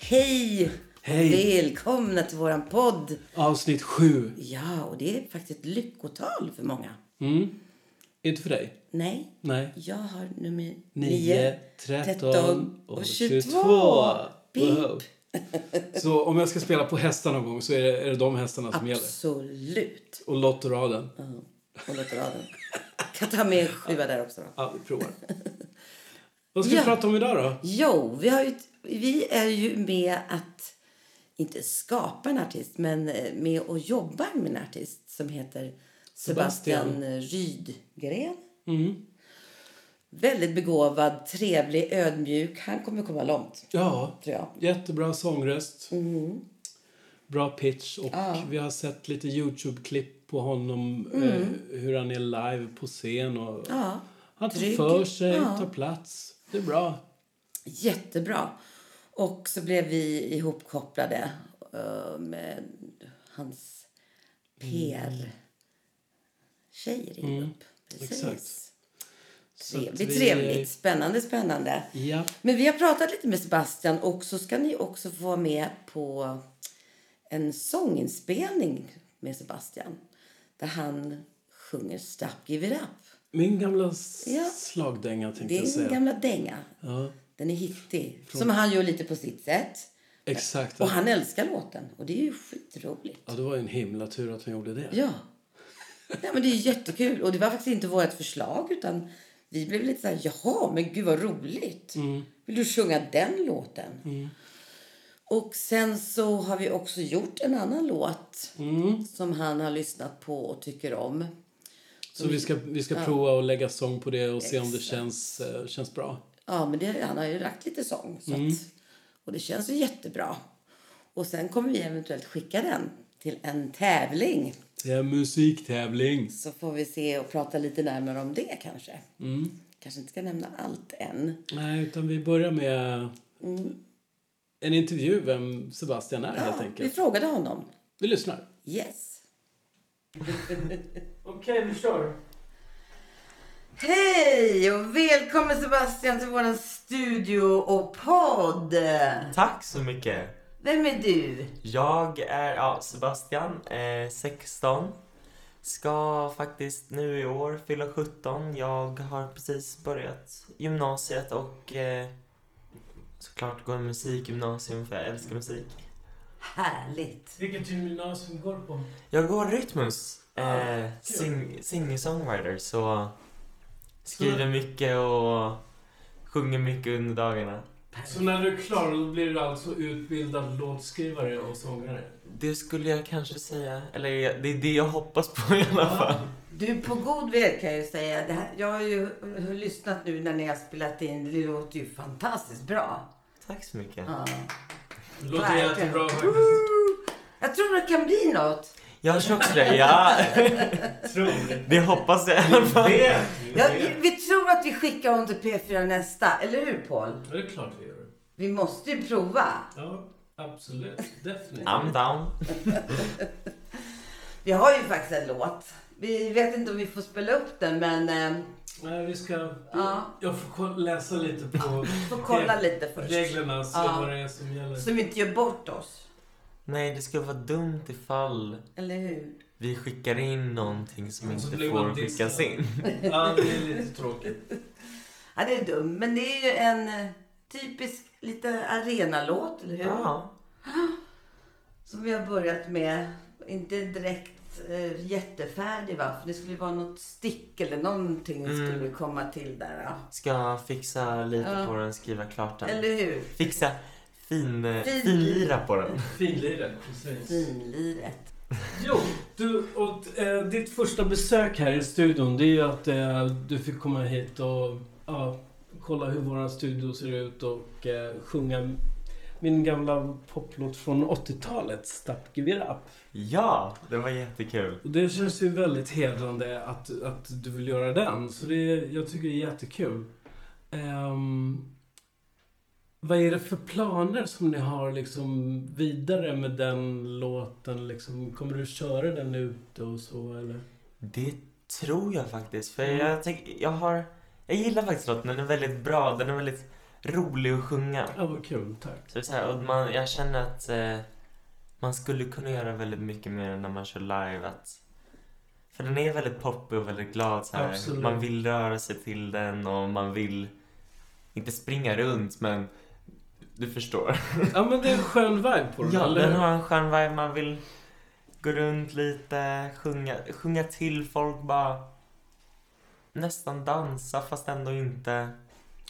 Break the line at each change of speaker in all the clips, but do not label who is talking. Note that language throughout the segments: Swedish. Hej!
Hej!
Välkomna till våran podd.
Avsnitt sju.
Ja, och det är faktiskt ett lyckotal för många.
Mm. Inte för dig?
Nej,
Nej.
jag har nummer
Nio,
9,
tretton och 22. Wow.
Pip!
Så om jag ska spela på hästar någon gång så är det, är det de hästarna som gäller.
Absolut.
Och lottoraden.
Ja, Och låter av den. Kan ta med en sjua där också då.
Ja, vi provar. Vad ska vi
Ja.
prata om idag då?
Jo, vi, har ju, vi är ju med att, inte skapa en artist, men eh, med och jobba med en artist som heter Sebastian, Rydgren.
Mm.
Väldigt begåvad, trevlig, ödmjuk. Han kommer komma långt,
Ja,
tror jag.
jättebra sångröst.
Mm.
Bra pitch och vi har sett lite Youtube-klipp på honom.
Mm.
Eh, hur han är live på scen och
Ja,
han tar
Trygg.
för sig,
Ja.
tar plats. Det är bra.
jättebra. Och så blev vi ihopkopplade eh, med hans PR-tjej ringde upp.
Mm. exakt. Så att
Trevligt,
vi-
trevligt. Spännande, spännande.
Ja.
Men vi har pratat lite med Sebastian och så ska ni också få vara med på en sånginspelning med Sebastian. Där han sjunger Stop Give It Up.
Min gamla s-
Ja.
slagdänga
Det
tänkte jag
är en
säga.
gamla dänga.
Ja,
Den är hittig. Som han gör lite på sitt sätt.
exakt.
Och han älskar låten. Och det är ju skitroligt.
Ja, det var ju en himla tur att han gjorde det.
Ja. Nej, men det är jättekul. Och det var faktiskt inte vårt förslag utan vi blev lite så här, jaha, men gud vad roligt. Vill du sjunga den låten? Och sen så har vi också gjort en annan låt som han har lyssnat på och tycker om.
Så vi ska, vi ska prova och lägga sång på det och se om det känns, eh, känns bra.
Ja, men det, han har ju lagt lite sång. Så att, och det känns ju jättebra. Och sen kommer vi eventuellt skicka den till en tävling.
Det är en musiktävling.
Så får vi se och prata lite närmare om det kanske. Kanske inte ska nämna allt än.
Nej, utan vi börjar med en intervju vem Sebastian är helt
Mm. Ja,
enkelt.
vi frågade honom.
Vi lyssnar.
Yes.
Okej, vi kör.
Hej och välkommen Sebastian till våran studio och podd.
Tack så mycket!
Vem är du?
Jag är ja, Sebastian, eh, 16. Ska faktiskt nu i år fylla 17. Jag har precis börjat gymnasiet och eh, såklart går musikgymnasium för jag älskar musik.
Härligt.
Vilket gymnasium går du på?
Jag går Rytmus, eh,
kul.
sing- singer-songwriter, så skriver mycket och sjunger mycket under dagarna.
Så när du är klar då blir du alltså utbildad låtskrivare och sångare?
Det skulle jag kanske säga, eller det är det jag hoppas på i alla fall.
Du är på god väg kan jag ju säga. Det här, jag har ju har lyssnat nu när ni har spelat in. Det låter ju fantastiskt bra.
Tack så mycket.
Ja.
Det
Verkligen. Woo! Jag tror det kan bli något.
Jag kör också det, ja.
Tror.
Det hoppas jag i alla fall.
Jag, vi tror att vi skickar honom till P4 nästa, eller hur Paul?
Det är klart vi gör.
Vi måste ju prova.
Ja, absolut. Definitivt.
I'm down.
Vi har ju faktiskt en låt. Vi vet inte om vi får spela upp den, men eh,
Nej, vi ska...
Ja.
Jag får ko- läsa lite på
får kolla lite först.
reglerna och se
Ja.
vad det är som gäller.
Så vi inte gör bort oss.
Nej, det skulle vara dumt ifall
Eller hur?
vi skickar in någonting som
Så
inte
blir
får
man dissad.
skickas in.
Ja, det är lite tråkigt.
Ja, det är dumt. Men det är ju en eh, typisk lite arenalåt, eller hur?
Ja.
Som vi har börjat med. Inte direkt eh, jättefärdig, va? För det skulle ju vara något stick eller någonting skulle vi komma till där. Ja.
Ska fixa lite
Ja.
på den, skriva klart den.
Eller hur?
Fixa fin,
Fin-
finlira på den.
Finliret, precis.
Finliret.
Jo, du, och, eh, ditt första besök här i studion det är ju att eh, du fick komma hit och ja, kolla hur våran studio ser ut och eh, sjunga min gamla poplåt från 80-talet, Stop Give It Up.
Ja, det var jättekul.
Och det känns ju väldigt hedrande att, att du vill göra den. Så det, jag tycker det är jättekul. Ehm, vad är det för planer som ni har liksom vidare med den låten? Liksom, kommer du köra den ute och så eller?
Det tror jag faktiskt. För
Mm.
jag, tänk, jag har... Jag gillar faktiskt låten, den är väldigt bra. Den är väldigt rolig att sjunga.
Ja, vad kul. Tack.
Så det är så här, och man, jag känner att eh, man skulle kunna göra väldigt mycket mer när man kör live. Att, för den är väldigt poppig och väldigt glad. Så här.
Absolut.
Man vill röra sig till den och man vill inte springa runt men du förstår.
Ja, men det är en skön vibe på den,
Ja,
eller
den
hur?
har en skön vibe. Man vill gå runt lite, sjunga, sjunga till folk, bara nästan dansa fast ändå inte.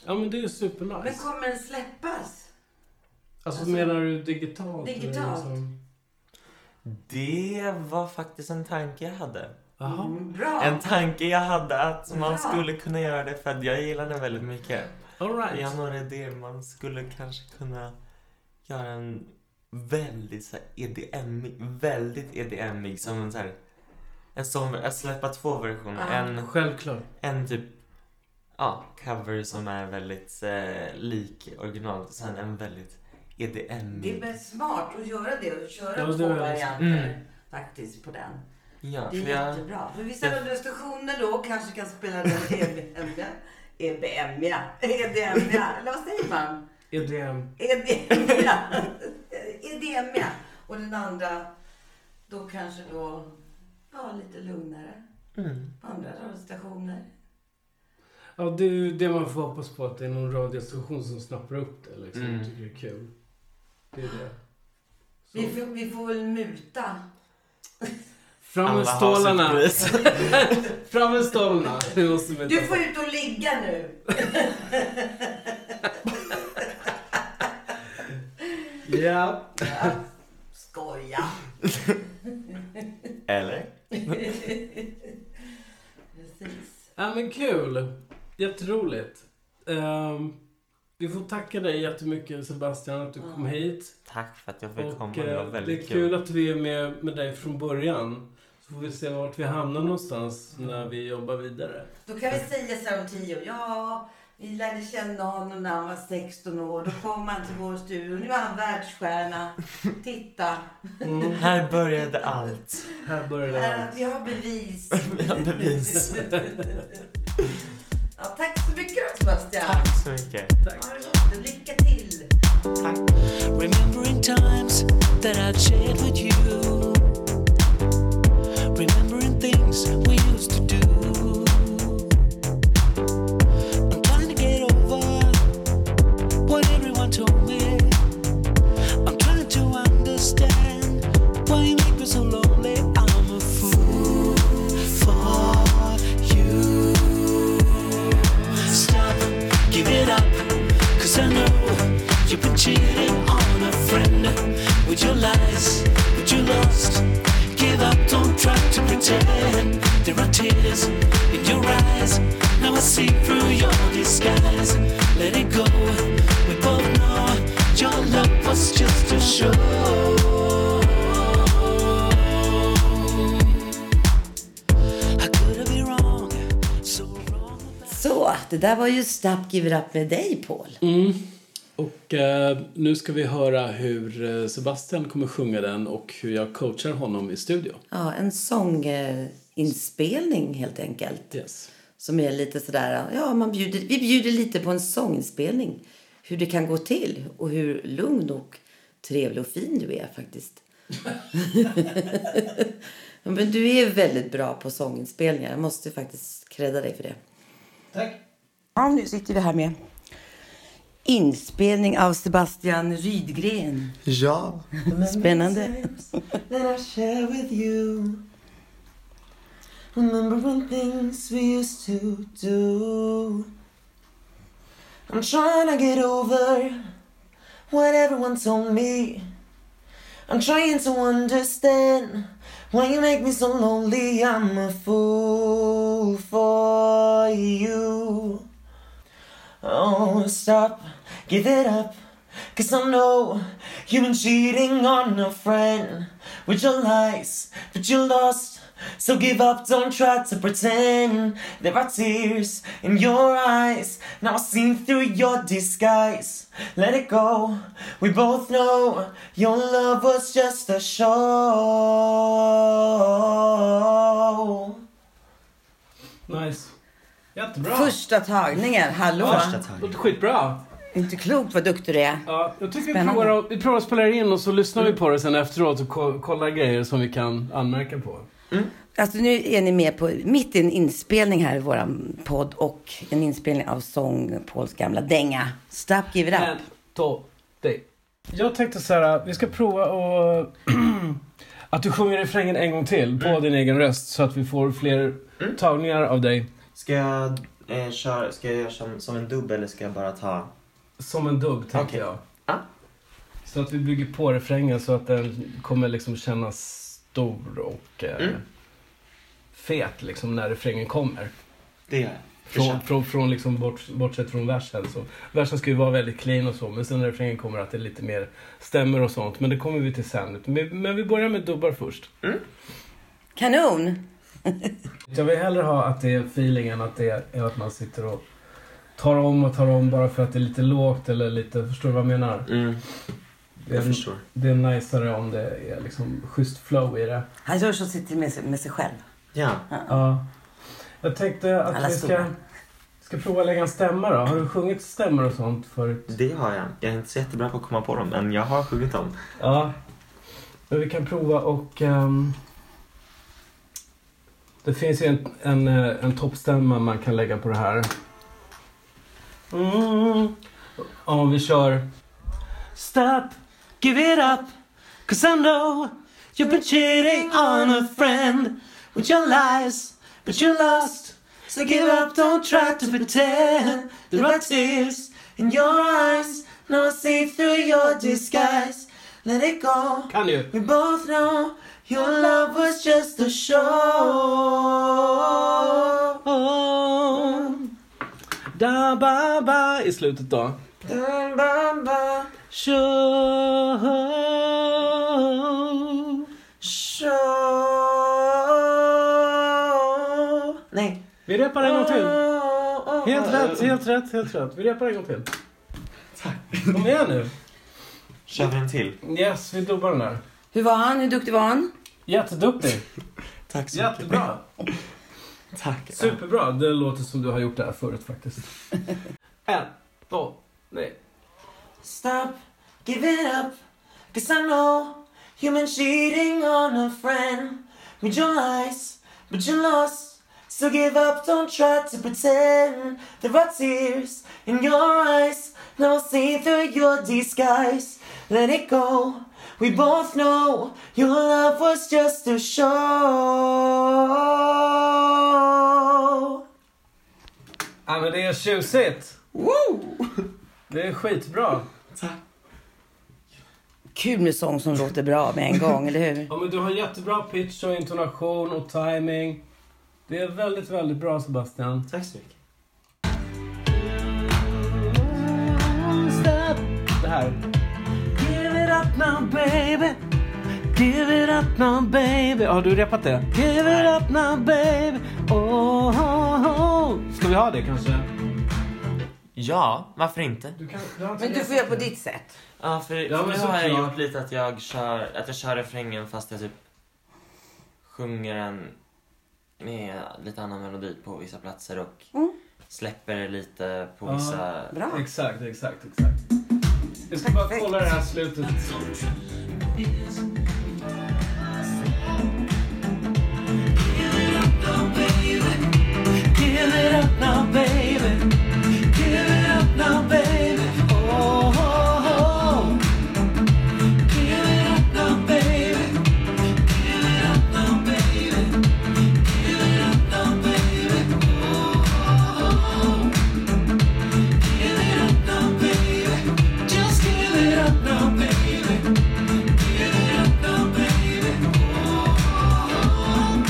Ja, men det är
Men
supernice.
kommer den släppas?
Alltså,
alltså,
menar du digitalt? eller
digitalt.
liksom-
Det var faktiskt en tanke jag hade.
Jaha.
Mm, Bra!
En tanke jag hade att man
Ja.
skulle kunna göra det för att jag gillar den väldigt mycket.
All
Jag har
right.
några idéer. Man skulle kanske kunna göra en väldigt så här EDM, väldigt EDM-ig som en så här, en sån, att släppa två versioner.
Ja.
En
Självklart.
en typ ja, cover som är väldigt eh, lik originalet och sen en väldigt E EDM.
Det är väl smart att göra det och köra
Ja, det
två
är det.
varianter
Mm.
faktiskt på den.
Ja,
Det är
för jag,
jättebra. För vissa restriktioner då kanske kan spela den EBM-ja. EBM-ja. EDM-ja. Eller vad säger man?
EDM.
EDM-ja. EDM-ja. Och den andra då kanske då ja, lite lugnare.
mm,
På andra radiostationer.
Ja, det är ju det man får hoppas på, att det är någon radiostation som snappar upp det liksom.
Mm.
Mm. tycker det är kul. Det är det. Så.
Vi får, vi får väl muta.
Fram med
alla har sitt
stålarna!
pris.
Fram med stålarna! Vi måste vänta
Du får
på-
ut och ligga nu.
Ja.
Skoja.
Eller?
Precis.
ja, men kul! Jätteroligt. Ehm, vi får tacka dig jättemycket Sebastian att du kom hit.
Tack för att jag fick komma,
Och,
det var
eh, det är
väldigt
kul
kul.
att vi är med, med dig från början. Så får vi se vart vi hamnar någonstans när vi jobbar vidare.
Då kan vi säga så här om tio år. Ja, vi lärde känna honom när han var 16 år. Då kom han till vår studio. Nu är han världsstjärna. Titta,
Här började allt.
Mm, Här börjar det.
här, vi har bevis.
Vi har bevis.
Ja, tack så mycket då Sebastian.
Tack så mycket.
Ha det gott. Lycka till.
Tack.
Remembering times that I'd shared with you. Remembering things we used to do. I'm trying to get over what everyone told me. I'm trying to understand why you make me so lonely. I'm a fool for you. Stop, give it up, cause I know you've been cheating on a friend with your lies, with your lust. Give up, don't try to pretend. There are tears in your eyes, now I see through your disguise. Let it go, we both know your love was just a show. How could I be wrong? So wrong.
Så, det där var ju Stop Give It Up med dig Paul.
Mm. Och eh, nu ska vi höra hur eh, Sebastian kommer sjunga den och hur jag coachar honom i studio.
Ja, en sånginspelning helt enkelt.
Yes.
Som är lite sådär, ja man bjuder, vi bjuder lite på en sånginspelning. Hur det kan gå till och hur lugn och trevlig och fin du är faktiskt. Ja, Men du är väldigt bra på sånginspelningar. Jag måste faktiskt credda dig för det.
Tack.
Ja, nu sitter vi här med inspelning av Sebastian Rydgren.
Ja.
Spännande.
That I share with you. Remember when things we used to do. I'm trying to get over what everyone told me. I'm trying to understand why you make me so lonely. I'm a fool for you. Oh, stop, give it up. Cause I know you've been cheating on a friend with your lies, but you lost. So give up, don't try to pretend. There are tears in your eyes. Now I see through your disguise. Let it go. We both know your love was just a show.
Nice. Jättebra.
Första tagningen, hallå!
Låter skitbra.
Inte klokt vad duktig du är.
Ja, jag tycker vi
Spännande.
provar, att- vi provar att spela in och så lyssnar vi på det sen efteråt och ko- kollar grejer som vi kan anmärka på.
Alltså nu är ni med på, mitt i en inspelning här i våran podd och en inspelning av sång Pauls gamla dänga. Stop Give It Up.
to, dig. Jag tänkte så här, äh, vi ska prova och att du sjunger refrängen en gång till på din egen röst så att vi får fler
Mm.
tagningar av dig.
Ska jag, eh, köra, ska jag göra som, som en dubb eller ska jag bara ta...
Som en dubb, tänker
Okej.
jag.
Ja.
Så att vi bygger på refrängen så att den kommer liksom kännas stor och eh,
Mm.
fet liksom när refrängen kommer.
Det gör jag. Vi
Från,
kör.
från, från liksom bort, bortsett från versen. Så, versen ska ju vara väldigt clean och så, men sen när refrängen kommer att det lite mer stämmer och sånt. Men det kommer vi till sen. Men, men vi börjar med dubbar först.
Kanon!
Jag vill hellre ha att det är feelingen att det är att man sitter och tar om och tar om bara för att det är lite lågt eller lite, förstår du vad jag menar?
Mm,
Det
jag
är,
förstår.
det är najsare om det är liksom schysst flow i det.
Han gör så sitter med sig, med sig själv.
Ja.
Ja. Jag tänkte att
Alla
vi ska,
stora.
ska prova att lägga en stämma då. Har du sjungit stämmor och sånt förut?
Det har jag. Jag är inte så jättebra på att komma på dem, men jag har sjungit dem.
Ja. Men vi kan prova och... ehm, det finns ju en, en, eh, en toppstämma man kan lägga på det här. Mm. Om vi kör... Stop, give it up, cause I know you've been cheating on a friend with your lies, but you lost. So give up, don't try to pretend there are tears in your eyes. Now I see through your disguise. Let it go. Kan du? We both know your love was just a show. Da ba ba i slutet då.
Dun, ba, ba,
Show.
show. Nej.
Vi repar en gång till.
Oh,
Helt
Eh,
rätt, helt rätt, helt rätt. Vi repar en gång till. Tack. Kom igen nu.
Kör vi en till.
Yes, vi dubbar den där.
Hur var han? Hur duktig var han?
Jätteduktig.
Tack så mycket.
Jättebra.
Tack.
Superbra. Det låter som du har gjort det här förut faktiskt. en, två, nej.
Stop, give it up, cause I know you've been cheating on a friend with your lies, but you lost. So give up, don't try to pretend there are tears in your eyes. Now I see through your disguise. Let it go. We both know your love was just a show.
Ja, men det är tjusigt.
Woo!
Det är skitbra.
Kul med sång som låter bra med en gång, eller hur?
Ja, men du har jättebra pitch och intonation och timing. Det är väldigt, väldigt bra Sebastian.
Tack så mycket.
Det här.
Give it up now, baby. Give it up now, baby.
Har du repat det?
Give it up now, baby. Oh, oh, oh.
Ska vi ha det kanske?
Ja, varför inte?
Du kan, du har inte
Men du
repat
får göra på
det.
ditt sätt.
Ja, för,
Ja,
för
men
nu har jag
såklart.
gjort lite att jag kör, att jag kör refrängen fast jag typ sjunger den med lite annan melodi på vissa platser och släpper det lite på
Ja.
vissa...
Bra.
Exakt, exakt, exakt. Jag ska bara kolla det här slutet.
Give it up now, baby. Give it up now, baby. Oh, oh, oh. Give it up now, baby. Give it up now, baby. Give it up now, baby. Oh, oh, oh. Give it up now, baby. Just give it up now, baby. Give it up now, baby. Oh, oh, oh.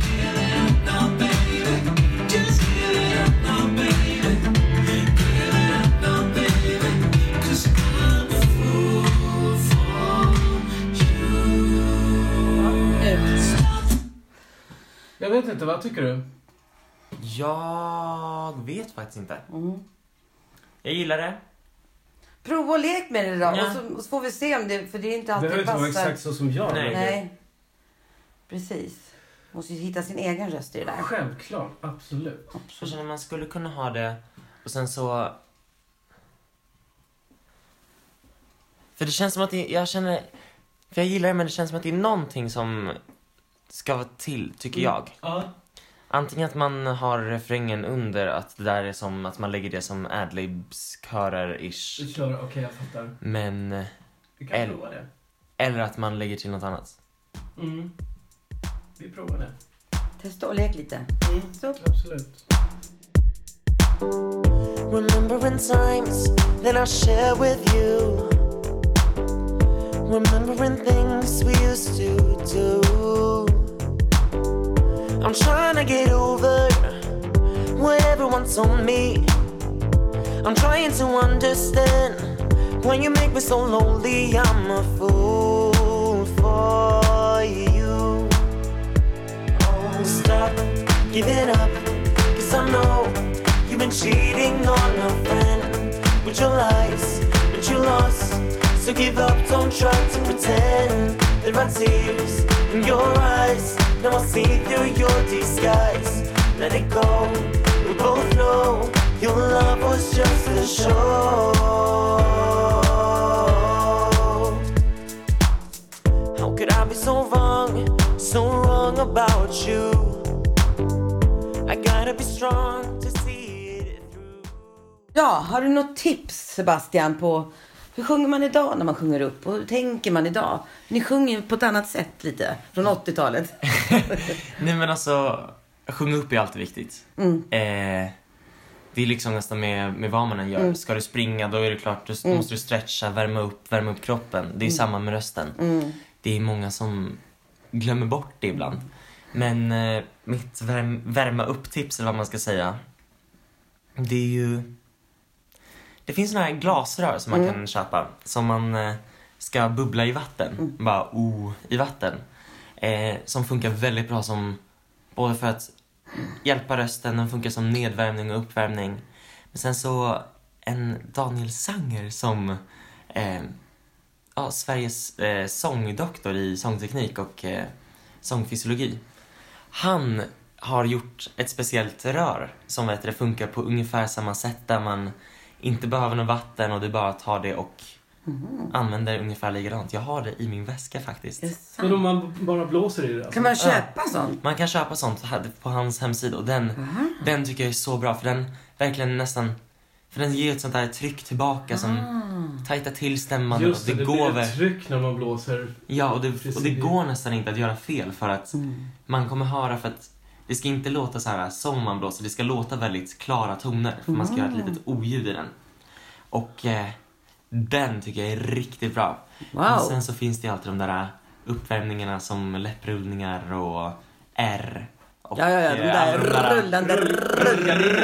Give it up now, baby. Just give it up now, baby. Give it up now, baby. 'Cause I'm a fool for
Jag vet inte, vad tycker du?
Jag vet faktiskt inte. Jag gillar det.
Prova och lek med det då.
Ja.
Och, så, och så får vi se om det, för det är inte
Det behöver
alltid
inte vara
passar.
exakt så som jag.
Nej.
Nej. Precis. Måste ju hitta sin egen röst i det där.
Självklart, absolut.
Jag känner man skulle kunna ha det och sen så För det känns som att det, jag känner... För jag gillar det, men det känns som att det är någonting som ska vara till, tycker jag.
Ja.
Antingen att man har refrängen under, att det där är som att man lägger det som adlibs, körer-ish.
Kör, okej jag fattar.
Men...
Vi kan
Eller-
prova det.
Eller att man lägger till något annat.
Mm. Vi provar det.
Testa och lek lite. Så.
Absolut.
Remembering times that I share with you. Remembering things we used to do. I'm trying to get over what everyone told me. I'm trying to understand when you make me so lonely. I'm a fool for you. Oh, stop giving up. Cause I know you've been cheating on a friend with your lies, but you lost. So give up, don't try to pretend. There are tears in your eyes. Now I see through your disguise. Let it go, we both know your love was just a show. How could I be so wrong, so wrong about you? I gotta be strong to see it through.
Ja, har du något tips Sebastian på hur sjunger man idag när man sjunger upp och hur tänker man idag? Ni sjunger ju på ett annat sätt lite från 80-talet.
Nej men alltså, sjunga upp är alltid viktigt.
Mm.
Eh, det är liksom nästan med, med vad man än gör. Ska du springa då är det klart, du måste du stretcha, värma upp, värma upp kroppen. Det är samma med rösten.
Mm.
Det är många som glömmer bort det ibland. Men eh, mitt värm, värma upp-tips eller vad man ska säga. Det är ju... Det finns såna här glasrör som man kan köpa. Som man eh, ska bubbla i vatten. Bara oh, i vatten. Eh, som funkar väldigt bra som både för att hjälpa rösten, den funkar som nedvärmning och uppvärmning. Men sen så en Daniel Sanger som eh, ja, Sveriges eh, sångdoktor i sångteknik och eh, sångfysiologi. Han har gjort ett speciellt rör som vet, det funkar på ungefär samma sätt där man inte behöver något vatten och du bara tar det och
Mm.
använder ungefär likadant. Jag har det i min väska faktiskt.
Är det
Men om
sant?
man bara blåser i det alltså.
Kan man köpa sånt?
Man kan köpa sånt här på hans hemsida och den, den tycker jag är så bra för den verkligen nästan för den ger ett sånt där tryck tillbaka
Ah.
som tajtar till stämman och
Just
det,
det, det
går
blir ett
över.
tryck när man blåser.
Ja, och det,
Precis.
och det går nästan inte att göra fel för att
Ah.
man kommer höra för att det ska inte låta så här som man blåser, det ska låta väldigt klara toner för man ska göra ett litet oljud i den. Och eh, den tycker jag är riktigt bra.
Wow.
Men sen så finns det ju alltid de där eh, uppvärmningarna som läpprullningar och R. Och,
Ja, ja, ja, de
eh,
där
alla de där-
rullande...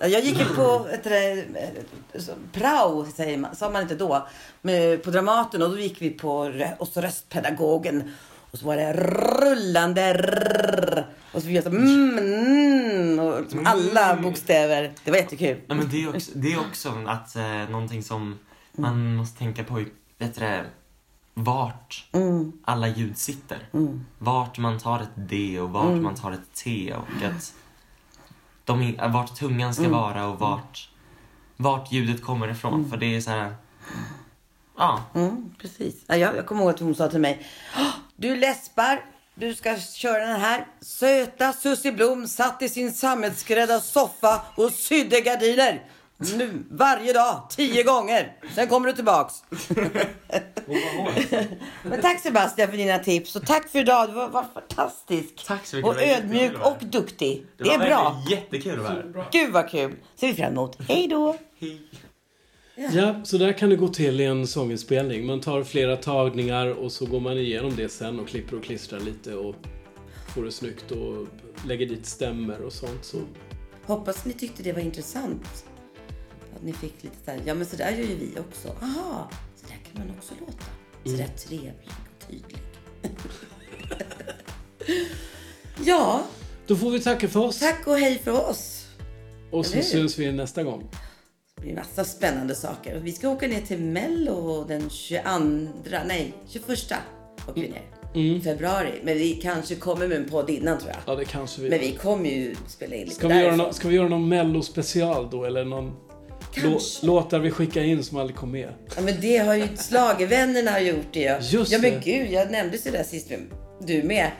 Ja, Jag gick ju på ett, eh, så- prao, säger man, sa man inte då, med, på Dramaten och då gick vi på rö- och så röstpedagogen och så var det rullande rrrr. och så fick jag så mm, mm, och alla bokstäver. Det var jättekul.
Nej, men det är också, det är också att eh, någonting som man måste tänka på, i- vet du det, vart
Mm.
alla ljud sitter. Vart man tar ett D och vart
Mm.
man tar ett T och att de, är- vart tungan ska
Mm.
vara och vart, vart ljudet kommer ifrån. För det är så här, ja,
Mm, precis. Ja, jag, jag kommer ihåg att hon sa till mig. "Åh, Du läspar. Du ska köra den här. Söta Sussie Blom satt i sin sammetsgrädda soffa och sydde gardiner. Nu, varje dag, tio gånger. Sen kommer du tillbaks. Men tack Sebastian för dina tips och tack för idag. Du var, var fantastisk.
Tack så mycket.
Och
Det var jättekul
ödmjuk
att vara
och
här.
duktig. Det,
var
är bra.
verkligen jättekul att vara här.
Gud vad kul. Ser vi fram emot. Hej då.
Hej.
Ja, så där kan det gå till i en sånginspelning. Man tar flera tagningar och så går man igenom det sen och klipper och klistrar lite och får det snyggt och lägger dit stämmer och sånt. Så.
Hoppas ni tyckte det var intressant. Att ni fick lite så här, ja men så där gör ju vi också. Aha, så där kan man också låta. Så
Mm.
där trevlig och tydlig. ja,
Då får vi tacka för oss
tack och hej för oss.
och så
eller hur?
syns vi nästa gång.
Det blir massa spännande saker. Vi ska åka ner till Mello den 22, nej 21 åker
Mm.
vi ner. I februari. Men vi kanske kommer med en podd innan tror jag.
Ja, det kanske
Men
vi...
vi kommer ju spela in lite
Ska vi, göra
därifrån.
någon, ska vi göra någon mellospecial då eller någon... Lå,
Kanske.
låtar vi skickar in som aldrig kom med.
Ja, men det har ju Schlagervännerna har gjort det ju.
Just
ja, men
det.
gud, jag nämnde ju det där sist. men Du med.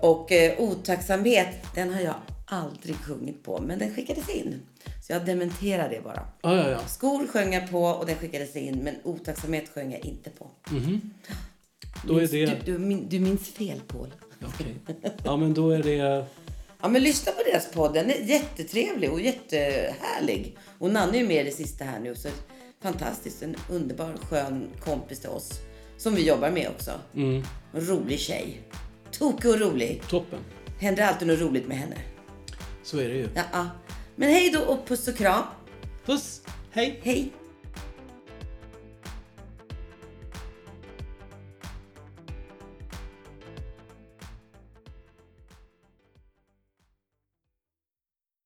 Och eh, otacksamhet, den har jag aldrig sjungit på. Men den skickades in. Så jag dementerar det bara.
Ja, ja, ja.
Skor sjöng jag på och den skickades in. Men otacksamhet sjöng jag inte på.
Då är
Minns-
det...
du, du, min, du minns fel, Paul.
Okej. Ja, men då är det...
Ja, men lyssna på deras podd. Den är jättetrevlig och jättehärlig. Och Nanne är ju med i det sista här nu. Så fantastiskt. En underbar, skön kompis till oss. Som vi jobbar med också.
Mm,
En rolig tjej. Tokig och rolig.
toppen.
Händer alltid något roligt med henne.
Så är det ju.
Ja, ja. Men hej då och puss och kram.
Puss! Hej!
Hej!